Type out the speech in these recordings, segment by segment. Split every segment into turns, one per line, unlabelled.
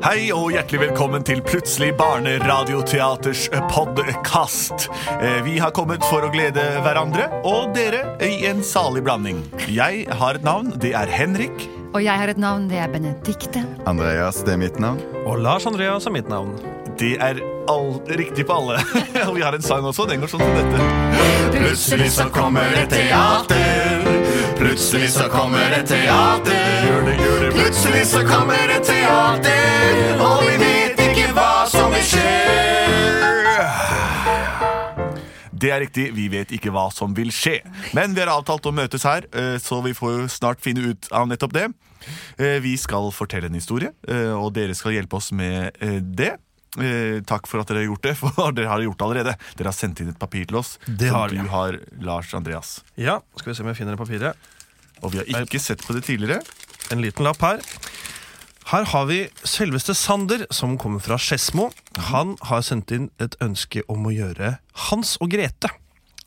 Hei og hjertelig velkommen til Plutselig barneradioteaters podkast. Eh, Vi har kommet for å glede hverandre og dere i en salig blanding. Jeg har et navn. Det er Henrik.
Og jeg har et navn, det er Benedikte.
Andreas, det er mitt navn.
Og Lars Andreas er mitt navn.
Det er all, riktig på alle. Og vi har en sang også. Den går sånn som dette.
Plutselig så kommer det teater. Plutselig så kommer det teater. Plutselig så kommer det teater, og vi vet ikke hva som vil skje.
Det er riktig. Vi vet ikke hva som vil skje. Men vi har avtalt å møtes her, eh, så vi får jo snart finne ut av nettopp det. Eh, Vi skal fortelle en historie, eh, og dere skal hjelpe oss med eh, det. Eh, Takk for at dere har gjort det, for dere har gjort det allerede. Dere har sendt inn et papir til oss.
Det
som
har vi.
du har, Lars Andreas.
Ja, skal vi se om jeg finner det papiret.
Og vi
Eh,
har ikke sett på det tidligere.
En liten lapp her. Her har vi selveste Sander, som kommer fra Skedsmo. Han har sendt inn et ønske om å gjøre Hans og Grete.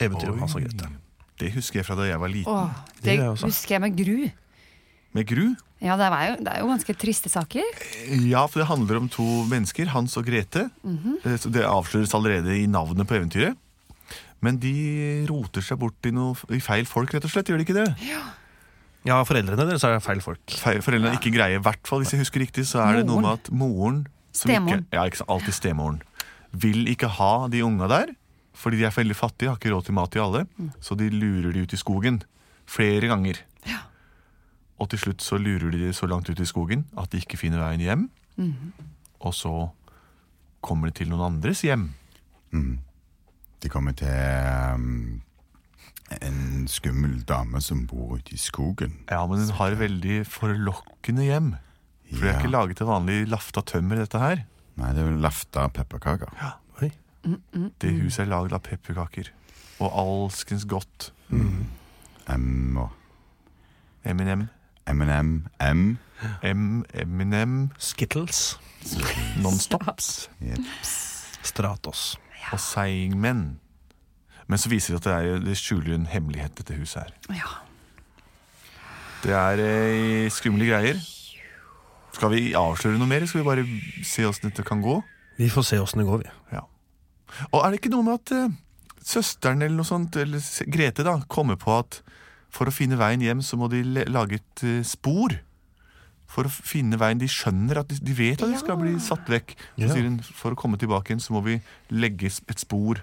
Eventyret om Hans og Grete.
Det husker jeg fra da jeg var liten.
Åh,
Det
det
gjør jeg også.
husker jeg med gru.
Med Gru.
Ja, det er jo, det er jo ganske triste saker.
Ja, for det handler om to mennesker, Hans og Grete. Eh, så Det avsløres allerede i navnet på eventyret. Men de roter seg bort i, noe, i feil folk, rett og slett. Gjør de ikke det?
Ja, foreldrene deres er feil folk.
Feil, foreldrene ikke greier, i hvert fall hvis jeg husker riktig, så er det noe med at moren som
Stemoren.
Ikke, ja, ikke sant, alltid stemoren. Vil ikke ha de unga der, fordi de er veldig fattige, har ikke råd til mat til alle. Så de lurer de ut i skogen flere ganger. Og til slutt så lurer de de så langt ut i skogen at de ikke finner veien hjem. Og så kommer de til noen andres hjem.
Mm. De kommer til um, en skummel dame som bor ute i skogen.
Ja, men hun har veldig forlokkende hjem. For det er
Ja.
ikke laget av vanlig lafta tømmer, dette her.
Nei, det er jo lafta pepperkaker.
Oi.
Det huset er laget av pepperkaker. Og alskens godt.
M og
Eminem.
M&M. M.
M, Eminem,
Skittles.
Nonstops
Stratos.
og Seigmen. Men så viser det at det, er, det skjuler en hemmelighet, dette huset her.
Ja.
Det er eh, skumle greier. Skal vi avsløre noe mer? Skal vi bare se åssen dette kan gå?
Vi får se åssen det går, vi.
Ja. Og er det ikke noe med at eh, søsteren eller noe sånt, eller s- Grete, da, kommer på at for å finne veien hjem, så må de le- lage et eh, spor. For å finne veien. De skjønner at de, de vet at de skal bli satt vekk. Så
Ja.
sier hun for å komme tilbake igjen, så må vi legge s- et spor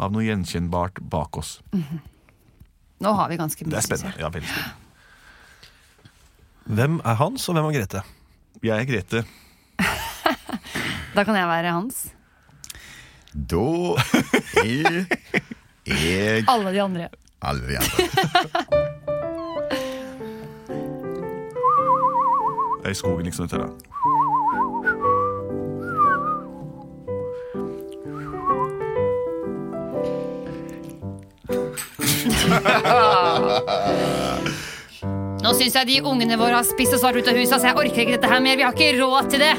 av noe gjenkjennbart bak oss.
Nå har vi ganske mye.
Det er
synes
spennende. Ja, veldig spennende.
Hvem er Hans, og hvem er Grete?
Jeg er Grete.
jeg. Da kan jeg være hans.
Da er jeg
Alle de andre.
E, alle de andre.
Jeg er i skogen liksom etter da.
Nå syns jeg de ungene våre har spist oss hardt ut av huset, så jeg orker ikke dette her mer. Vi har ikke råd til det.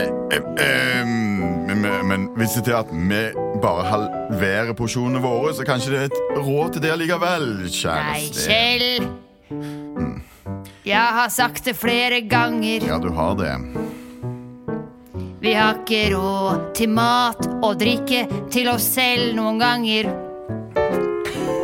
Ehm, men, men- men hvis det er at vi bare halverer porsjonene våre, så kanskje det er et råd til det likevel,
Nei,
kjæreste.
Kjell. Jeg har sagt det flere ganger.
Ja, du har det.
Vi har ikke råd til mat og drikke til oss selv noen ganger.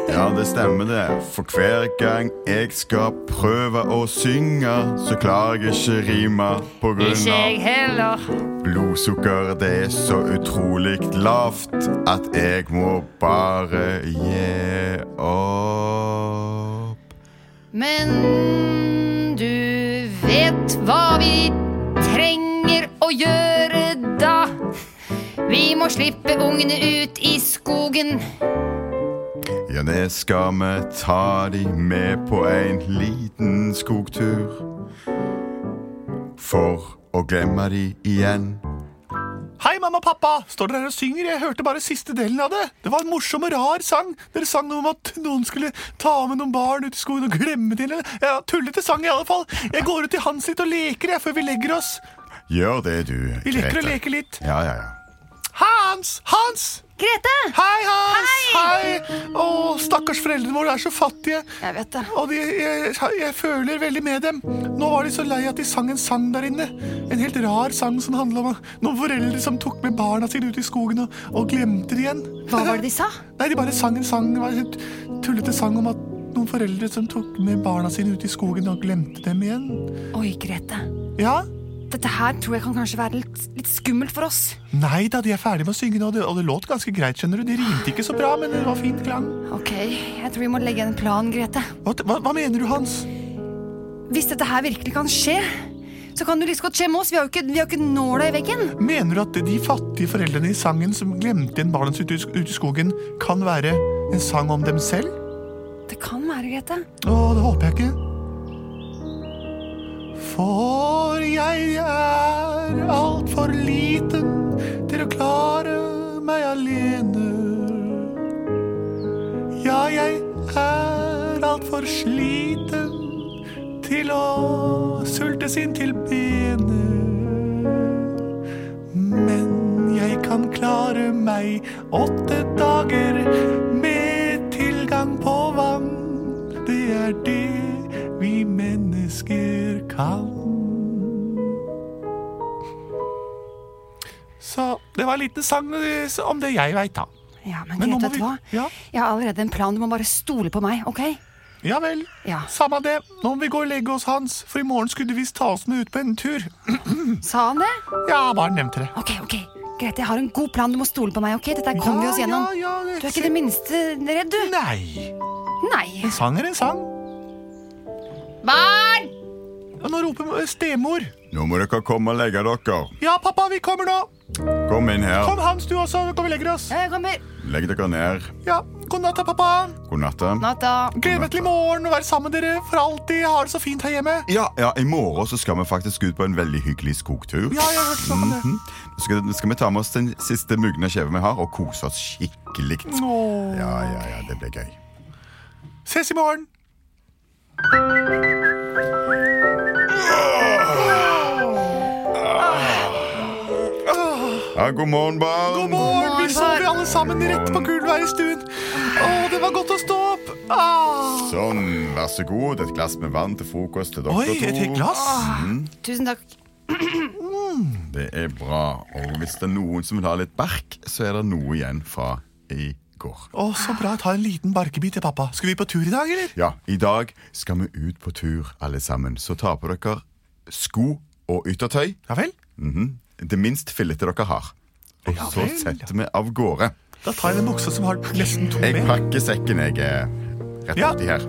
Ja, det stemmer det. For hver gang jeg skal prøve å synge, så klarer jeg ikke rime på grunn
Ikke jeg
av
heller.
blodsukkeret. Det er så utrolig lavt at jeg må bare gi opp.
Men du vet hva vi trenger å gjøre da. Vi må slippe ungene ut i skogen.
Ja, det skal vi ta de med på en liten skogtur. For å glemme de igjen.
Hei, mamma og pappa! Står dere her og synger? Jeg hørte bare siste delen av det. Det var en morsom og rar sang. Dere sang noe om at noen skulle ta med noen barn ut i skogen og glemme det. eller- Ja, tullete sang i alle fall. Jeg går ut i Hans litt og leker jeg før vi legger oss.
Gjør det, du.
Vi leker og
Grete.
leker litt.
Ja, ja, ja.
Hans! Hans!
Grete!
Hei, Hans! Hei! Å, stakkars foreldrene våre er så fattige.
Jeg vet det.
Og de, jeg, jeg føler veldig med dem. Nå var de så lei at de sang en sang der inne. En helt rar sang som handla om noen foreldre som tok med barna sine ut i skogen og, og glemte det igjen.
Hva var det de sa?
Nei, de bare sang en sang. Det var en helt tullete sang om at noen foreldre som tok med barna sine ut i skogen og glemte dem igjen.
Oi, Grete.
Ja?
Dette her tror jeg kan kanskje være litt, litt skummelt for oss.
Nei da, de er ferdige med å synge nå, og det, og det låt ganske greit, skjønner du. De rimte ikke så bra, men det var fint klang.
Ok, jeg tror vi må legge en plan, Grete.
Hva, hva, hva mener du, Hans?
Hvis dette her virkelig kan skje, så kan det like godt skje med oss. Vi har jo ikke, vi har jo ikke nåla i veggen.
Mener du at de fattige foreldrene i sangen som glemte igjen barna sine ute i- ute i skogen, kan være en sang om dem selv?
Det kan være, Grete.
Å, det håper jeg ikke. For jeg er altfor liten til å klare meg alene. Ja, jeg er altfor sliten til å sultes inn til benet. Men jeg kan klare meg åtte dager med tilgang på vann. Det er det vi mennesker kan. Så det var en liten sang eh, om det jeg veit, da.
Ja, men,
Men nå
Grete,
må
vet du
vi-
hva?
ja.
Jeg har allerede en plan. Du må bare stole på meg, OK?
Ja vel.
Ja.
Samme det. Nå må vi gå og legge oss, Hans, for i morgen skulle du visst ta oss med ut på en tur.
Sa han det?
Ja, bare nevnte det.
Ok, ok. Grete, jeg har en god plan. Du må stole på meg, OK? Dette her kommer vi oss
Ja,
gjennom.
ja, ja,
Du er ikke det minste redd, du?
Nei.
Nei.
Sang er en sang.
Barn!
Og nå roper eh, stemor.
Nå må dere komme og legge dere.
Ja, pappa, vi kommer nå.
Kom inn
Kom,
her.
Hans, du også. Nå kommer vi legger oss.
Ja, jeg kommer.
Legg dere ned.
Ja, God natt, da, pappa.
God natt. da.
Natta.
Gleder meg til i morgen å være sammen med dere for alltid. Jeg har det så fint her hjemme.
Ja, ja, I morgen så skal vi faktisk ut på en veldig hyggelig skogtur.
Ja, jeg har hørt snakk om det.
Så skal, skal vi ta med oss den siste mugne kjeven vi har, og kose oss skikkelig.
Åh.
Ja, ja, ja, det blir gøy.
Ses i morgen.
Ja, god morgen, barn.
God morgen. Vi sover alle sammen rett på gulvet her i stuen. Å, det var godt å stå opp. Ah.
Sånn, vær så god. Et glass med vann til frokost til dere
Oi,
to.
et helt glass.
Tusen takk.
Det er bra. Og hvis det er noen som vil ha litt bark, så er det noe igjen fra i går.
Å, så bra. Ta en liten barkebit til pappa. Skal vi på tur i dag, eller?
Ja, i dag skal vi ut på tur, alle sammen. Så ta på dere sko og yttertøy.
Ja vel.
Mhm. Det minst fillete dere har. Og
Ja
så
vel.
setter vi av gårde.
Da tar jeg den buksa som har nesten to
Jeg
ben.
pakker sekken jeg er rett
Ja.
uti her.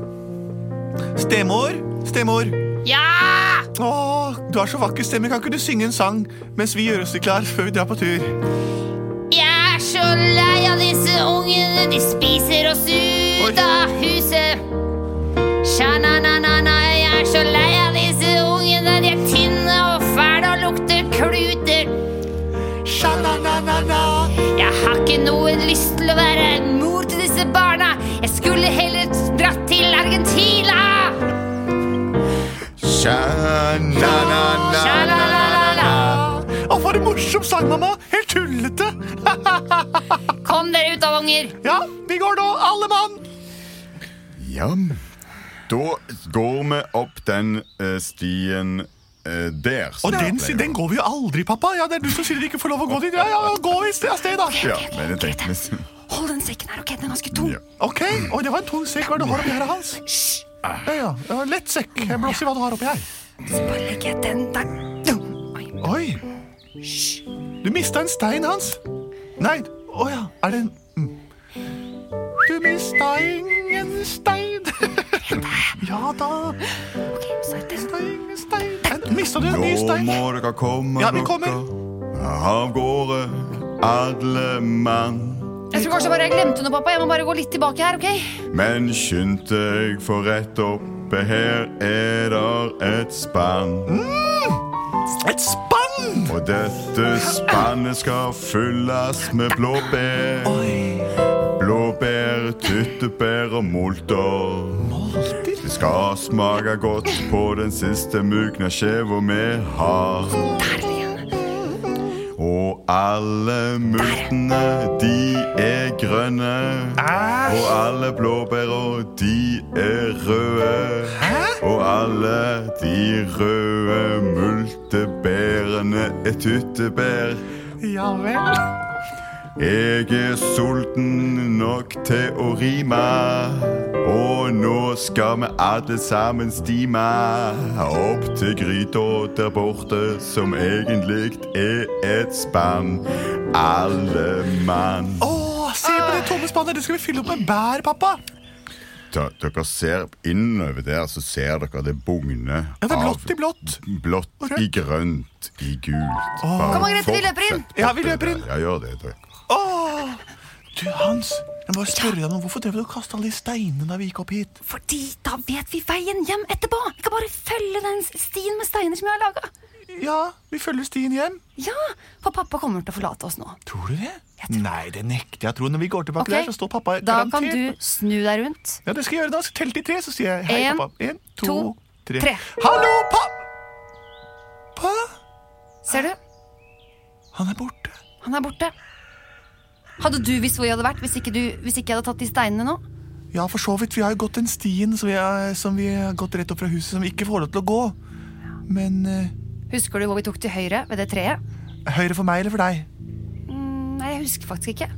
Stemor. Stemor.
Ja!
Åh, du har så vakker stemme. Kan ikke du synge en sang mens vi gjør oss klar før vi drar på tur?
Jeg er så lei av disse ungene, de spiser oss ut av huset. Sja-na-na-na-na, jeg er så lei av disse ungene, de er tynne og fæle og lukter kluter.
Sja-na-na-na-na.
Jeg har ikke noen lyst til å være en mor til disse barna. Jeg skulle heller dratt til Argentina.
Sja-na-na-na-na-na.
Sja-la-la-la-la.
Å, for en morsom sang, mamma! Helt tullete!
Kom dere ut av unger.
Ja, vi går nå, alle mann!
Ja, da går vi opp den eh, stien eh, der. som
Og
vi
den,
pleier å-
den går vi jo aldri, pappa. Ja, Det er du som sier vi ikke får lov å gå dit. Ja, ja, gå i sted, av sted, da.
Ja, men jeg tenkte liksom
Hold den sekken her, ok? Den er ganske tung.
ja.
Ok, Oi, det var en tung sekk. Hva er det du har oppi her, Hans? Ja, ja, det var en lett sekk. Jeg blåser i hva du har oppi her.
Så bare legger jeg den der. Oi.
Oi! Du mista en stein, Hans. Nei, å ja. Er det en mm. Du mista ingen stein. ja da.
Ok, så er det
Stein, stein. Mista du en ny
Nå
stein?
må dere komme
Ja, vi kommer.
dere av gårde, alle mann.
Jeg tror kanskje bare jeg glemte noe, pappa. Jeg må bare gå litt tilbake her, ok?
Men skynd deg, for rett oppe her er der et spann.
Mm.
Et spann!
Og dette spannet skal fylles med blåbær. Blåbær, tyttebær og molter. Det skal smake godt på den siste mugna skjeva vi har.
Der ligger den.
Og Og alle murtene, de er grønne. Og alle blåbæra, de er røde. Og alle de røde multebærene er tyttebær.
Ja vel.
Jeg er sulten nok til å rime. Og nå skal vi alle sammen stime opp til gryta der borte, som egentlig er et spann. Alle mann.
Å, se på det tomme spannet! Det skal vi fylle opp med bær, pappa.
Da, dere ser innover der, så ser dere det bugner
Ja, det er blått i blått. Og
Blått
rødt.
i grønt i gult.
Kom, Margrethe, vi løper inn.
Ja, vi løper inn.
Ja, gjør det, dere.
Åh. Du, Hans, jeg må bare spørre deg noe. Hvorfor drev du og kasta alle de steinene da vi gikk opp hit?
Fordi da vet vi veien hjem etterpå. Vi kan bare følge den stien med steiner som jeg har laga.
Ja, vi følger stien hjem.
Ja, for pappa kommer til å forlate oss nå.
Tror du det? Nei, det nekter jeg å tro. Når vi går tilbake
Ok,
der, så står pappa
Da
garantert
kan du snu deg rundt.
Ja, det skal jeg gjøre da. Så telt til tre, så sier jeg hei,
En,
pappa. En, to,
to,
tre.
tre.
Hallo, pappa! Pa?
Ser du?
Han er borte.
Han er borte. Hadde du visst hvor jeg hadde vært hvis ikke, du, hvis ikke jeg hadde tatt de steinene nå?
Ja, for så vidt. Vi har jo gått den stien som vi, er, som vi har gått rett opp fra huset, som vi ikke får lov til å gå. Men eh,
Husker du hvor vi tok til høyre ved det treet?
høyre for meg eller for deg?
Mm, Nei, jeg husker faktisk ikke.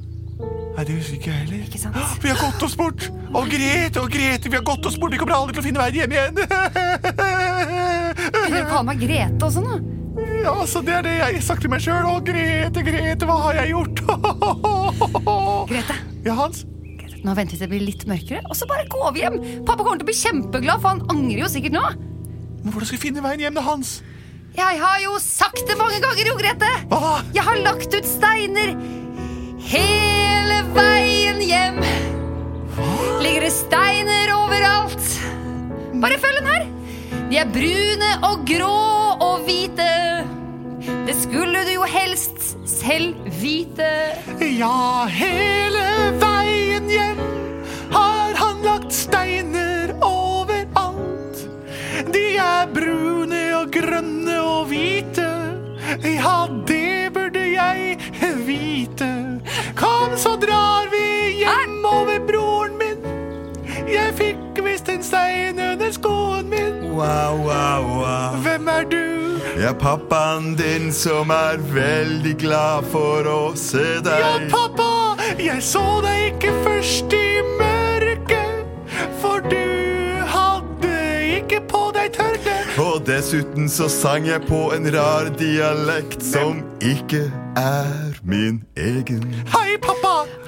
Nei, det husker ikke jeg heller.
Ikke sant?
Hå, Vi har gått oss bort! Å, Grete, å, Grete, vi har gått oss bort! Vi kommer aldri til å finne veien hjem igjen!
Begynner du å kalle meg Grete også nå?
ja, så det er det jeg sagt til meg sjøl. Å, Grete, Grete, hva har jeg gjort?
Grete,
ja, Hans?
nå venter vi til det blir litt mørkere, og så bare går vi hjem! Pappa kommer til å bli kjempeglad, for han angrer jo sikkert nå.
Men hvordan skal vi finne veien hjem da, Hans?
Jeg har jo sagt det mange ganger, jo, Grete!
Hva da?
Jeg har lagt ut steiner hele veien hjem. Ligger det steiner overalt? Bare følg den her. De er brune og grå og hvite. Det skulle du jo helst selv vite.
Ja, hele veien hjem har han lagt steiner overalt. De er brune og grønne og hvite. Ja, det burde jeg vite. Kom, så drar vi hjem over broren min. Jeg fikk visst en stein under skoen min.
Wow, wow, wow.
Hvem er du?
Ja, pappaen din som er veldig glad for å se deg.
Ja, pappa, jeg så deg ikke først i mørket, for du hadde ikke på deg tørkle.
Og dessuten så sang jeg på en rar dialekt som ikke er min egen.
Hei, pappa!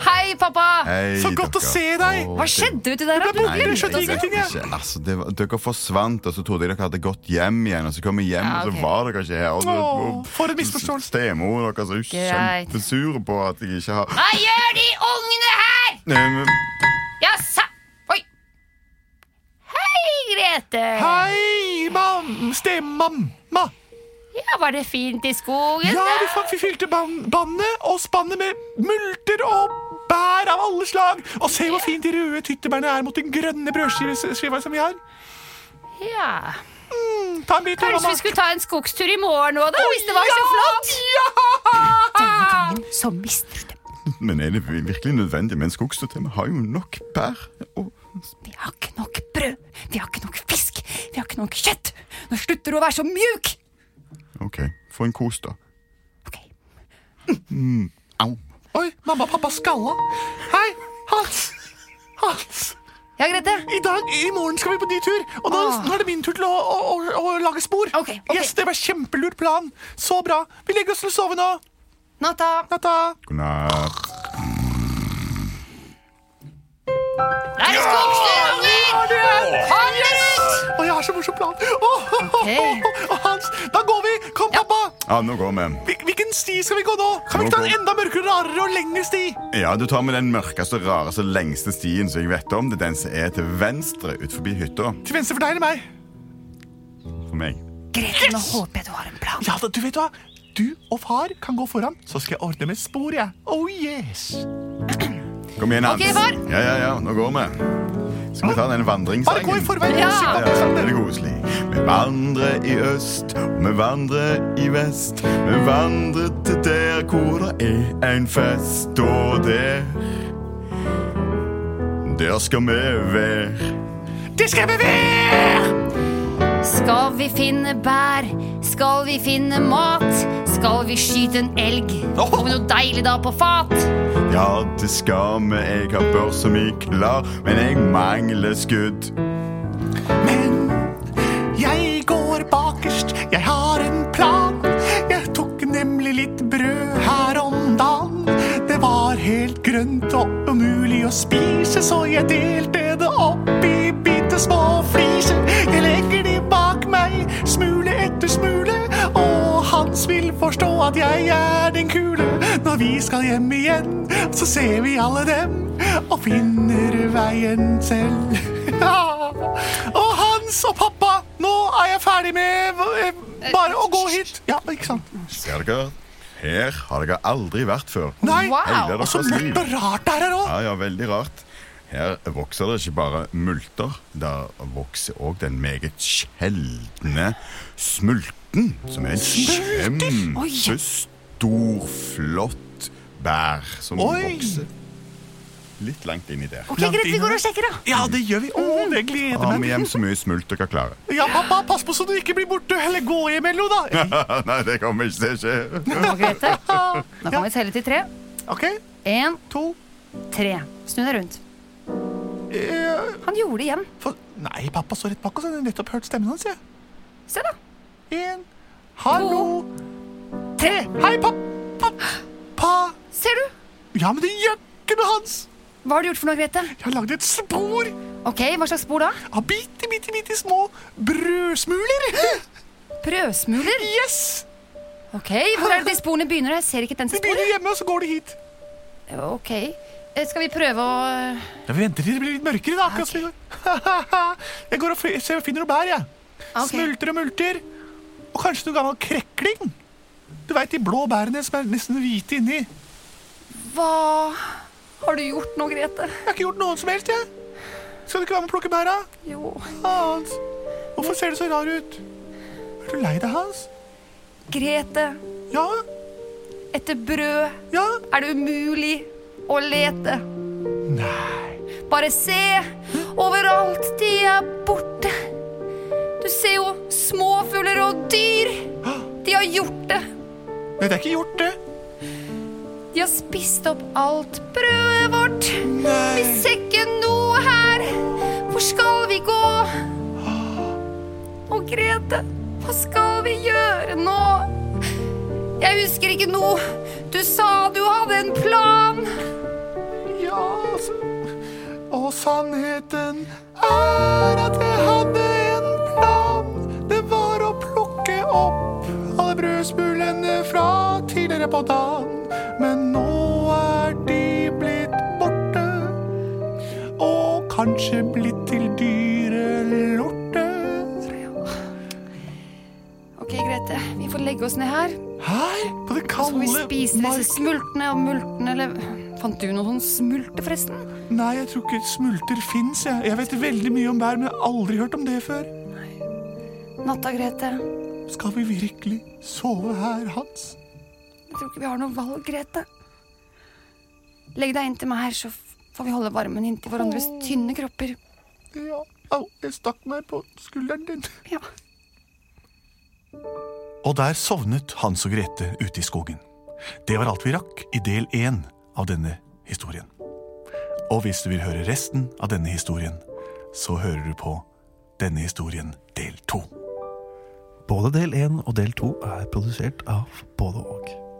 Hei, pappa!
Hei,
Så godt å
dere.
se deg.
Å,
Hva
det-
skjedde uti der? da?
Det ble
Du
borte,
Nei,
Jeg
glemte
skjønte
oss.
jeg vet
ingenting, jeg.
ikke. Altså, det var, dere forsvant, og så trodde jeg dere hadde gått hjem igjen. Og så kom jeg hjem,
Ja,
og
ok.
så var dere ikke her. Og,
Åh,
og-
for en misforståelse.
Stemor dere er så
Greit.
kjempesure på at jeg ikke har
Hva gjør de ungene her?
Nei, men-
Ja, sa... Oi. Hei, Grete.
Hei, mam, stemamma.
Ja, var det fint i skogen?
Ja,
da?
vi, fa- vi fylte ban bannet og spannet med multer og bær av alle slag. Og se hvor fint de røde tyttebærene er mot den grønne brødskiva som vi har. Mm,
ja.
Ta en bit, nå,
Kanskje
mamma.
vi skulle ta en skogstur i morgen òg, da? Hvis det var så
Ja,
flott?
Denne gangen så mister du det.
Men er det virkelig nødvendig med en skogstøtte? Vi har jo nok bær. Og
Vi har ikke nok brød. Vi har ikke nok fisk. Vi har ikke nok kjøtt. Nå slutter du å være så mjuk!
OK, få en kos, da.
Ok,
Au.
Oi, mamma og pappa skalla. Hei, Hans. Hans.
Ja, Grete?
I dag, i morgen skal vi på ny tur, og nå,
Åh.
nå er det min tur til å, å, å, å lage spor.
Ah. Ok, ok.
Yes, Det var kjempelurt plan. Så bra. Vi legger oss til å sove nå.
Natta.
Natta.
God natt.
Da er det skogstur, unger! Kom dere ut!
Å, jeg har så morsom plan. Åh, åh, åh,
Ok.
åh, åh, Hans, da går vi. Kom, pappa.
Ja, nå går vi.
Hvil- Hvilken sti skal vi gå nå? Kan vi ikke ta en
Nå går-
enda mørkere, rarere og lengre sti?
Ja, Du tar med den mørkeste, rareste, lengste stien som jeg vet om. Det er den som er til venstre ut forbi hytta.
Til venstre for deg eller meg?
For meg.
Grete, nå håper jeg du har en plan.
Ja, da, du vet hva. Du og far kan gå foran, så skal jeg ordne med spor, jeg. Oh yes.
Kom igjen, Hans.
Ok, far.
Ja, ja, ja, nå går vi. Skal vi ta den vandringssangen?
Bare gå i forveien.
Ja.
Syng opp i
Ja,
sangen.
det er koselig. Vi vandrer i øst, og vi vandrer i vest. Vi vandrer til der hvor det er en fest, og der Der skal vi være.
Skal vi finne bær? Skal vi finne mat? Skal vi skyte en elg? Får vi noe deilig da på fat?
Ja, det skal vi. Jeg har børs som i klar, men jeg mangler skudd. Men jeg går bakerst, jeg har en plan. Jeg tok nemlig litt brød her om dagen. Det var helt grønt og umulig å spise, så jeg delte det opp i bitte små fliser. Jeg legger de bak meg, smule etter smule, og Hans vil forstå at jeg er den kule. Når vi skal hjem igjen, så ser vi alle dem og finner veien selv. Ja. Og Hans og pappa, nå er jeg ferdig med eh, bare å gå hit. Ja, ikke sant? Ser dere? Her har dere aldri vært før. Nei,
Wow.
og så mørkt og rart det her òg. Ja, ja, veldig rart. Her vokser det ikke bare multer, der vokser òg den meget sjeldne smulten, som er en kjempestor, flott bær som vokser litt langt inni der.
Ok, greit, vi går og sjekker, da. Mm.
Ja, det gjør vi. Å, det gleder
Ta
meg.
med hjem så mye smult dere klarer.
Ja, pappa, pass på så du ikke blir borte. Eller gå hjem, Ello, da.
Nei, det kommer ikke til å skje.
Ok, Grete. Nå kan vi telle til tre.
OK,
Én,
to
tre. Snu deg rundt.
eh,
Han gjorde det igjen.
for... Nei, pappa står rett bak oss. Jeg har nettopp hørt stemmen hans. jeg.
Se, da.
En Hallo!
Tre.
Hei, pappa! Pa.
Ser du?
Ja, men det gjør ikke noe, Hans.
Hva har du gjort for noe, Grete?
Jeg har lagd et spor
Ok, Hva slags spor da?
av bitte, bitte, bitte små brødsmuler.
Brødsmuler?
Yes!
Ok, Hvor er det de sporene begynner? Jeg ser ikke den
De
til
begynner
sporet.
hjemme, og så går de hit.
Ok, Eh, Skal vi prøve å
Ja, Vi venter til det blir litt mørkere, da. akkurat som i går. Jeg går og fi- ser- finner noe bær, jeg.
Ok.
Smulter og multer. Og kanskje noe gammel krekling. Du veit de blå bærene som er nesten hvite inni. Jeg
Hva har du gjort nå, Grete?
har ikke gjort noen som helst, jeg. Skal du ikke være med og plukke bæra?
Jo
Hans, hvorfor ser du så rar ut? Er du lei deg, Hans?
Grete,
Ja,
etter brød
ja.
er det umulig å lete.
Nei.
Bare se overalt, de er borte. Du ser jo småfugler og dyr. De har gjort det.
Nei, det er ikke gjort, det.
De har spist opp alt brødet vårt. Vi ser ikke noe her. Hvor skal vi gå? Å, Grete, hva skal vi gjøre nå? Jeg husker ikke noe. Du sa du hadde en plan.
Ja, altså. Og sannheten er at jeg hadde en plan. Det var å plukke opp alle brødsmulene fra tidligere på dagen. Men nå er de blitt borte. Og kanskje blitt til dyrelorte.
Ok, Grete, vi får legge oss ned her.
Her på det
Så får
kalde
vi spise
mark-
disse smultene og multene, eller Fant du noe sånn smulte, forresten?
Nei, jeg tror ikke smulter fins. Jeg. jeg vet veldig mye om bær, men jeg har aldri hørt om det før.
Natta, Grete.
Skal vi virkelig sove her, Hans?
Jeg tror ikke vi har noe valg, Grete. Legg deg inntil meg her, så f- får vi holde varmen inntil hverandres tynne kropper.
Ja. Au, jeg stakk meg på skulderen din.
Ja.
Og der sovnet Hans og Grete ute i skogen. Det var alt vi rakk i del én av denne historien. Og hvis du vil høre resten av denne historien, så hører du på denne historien del to.
Både del 1 og del 2 er produsert av både og.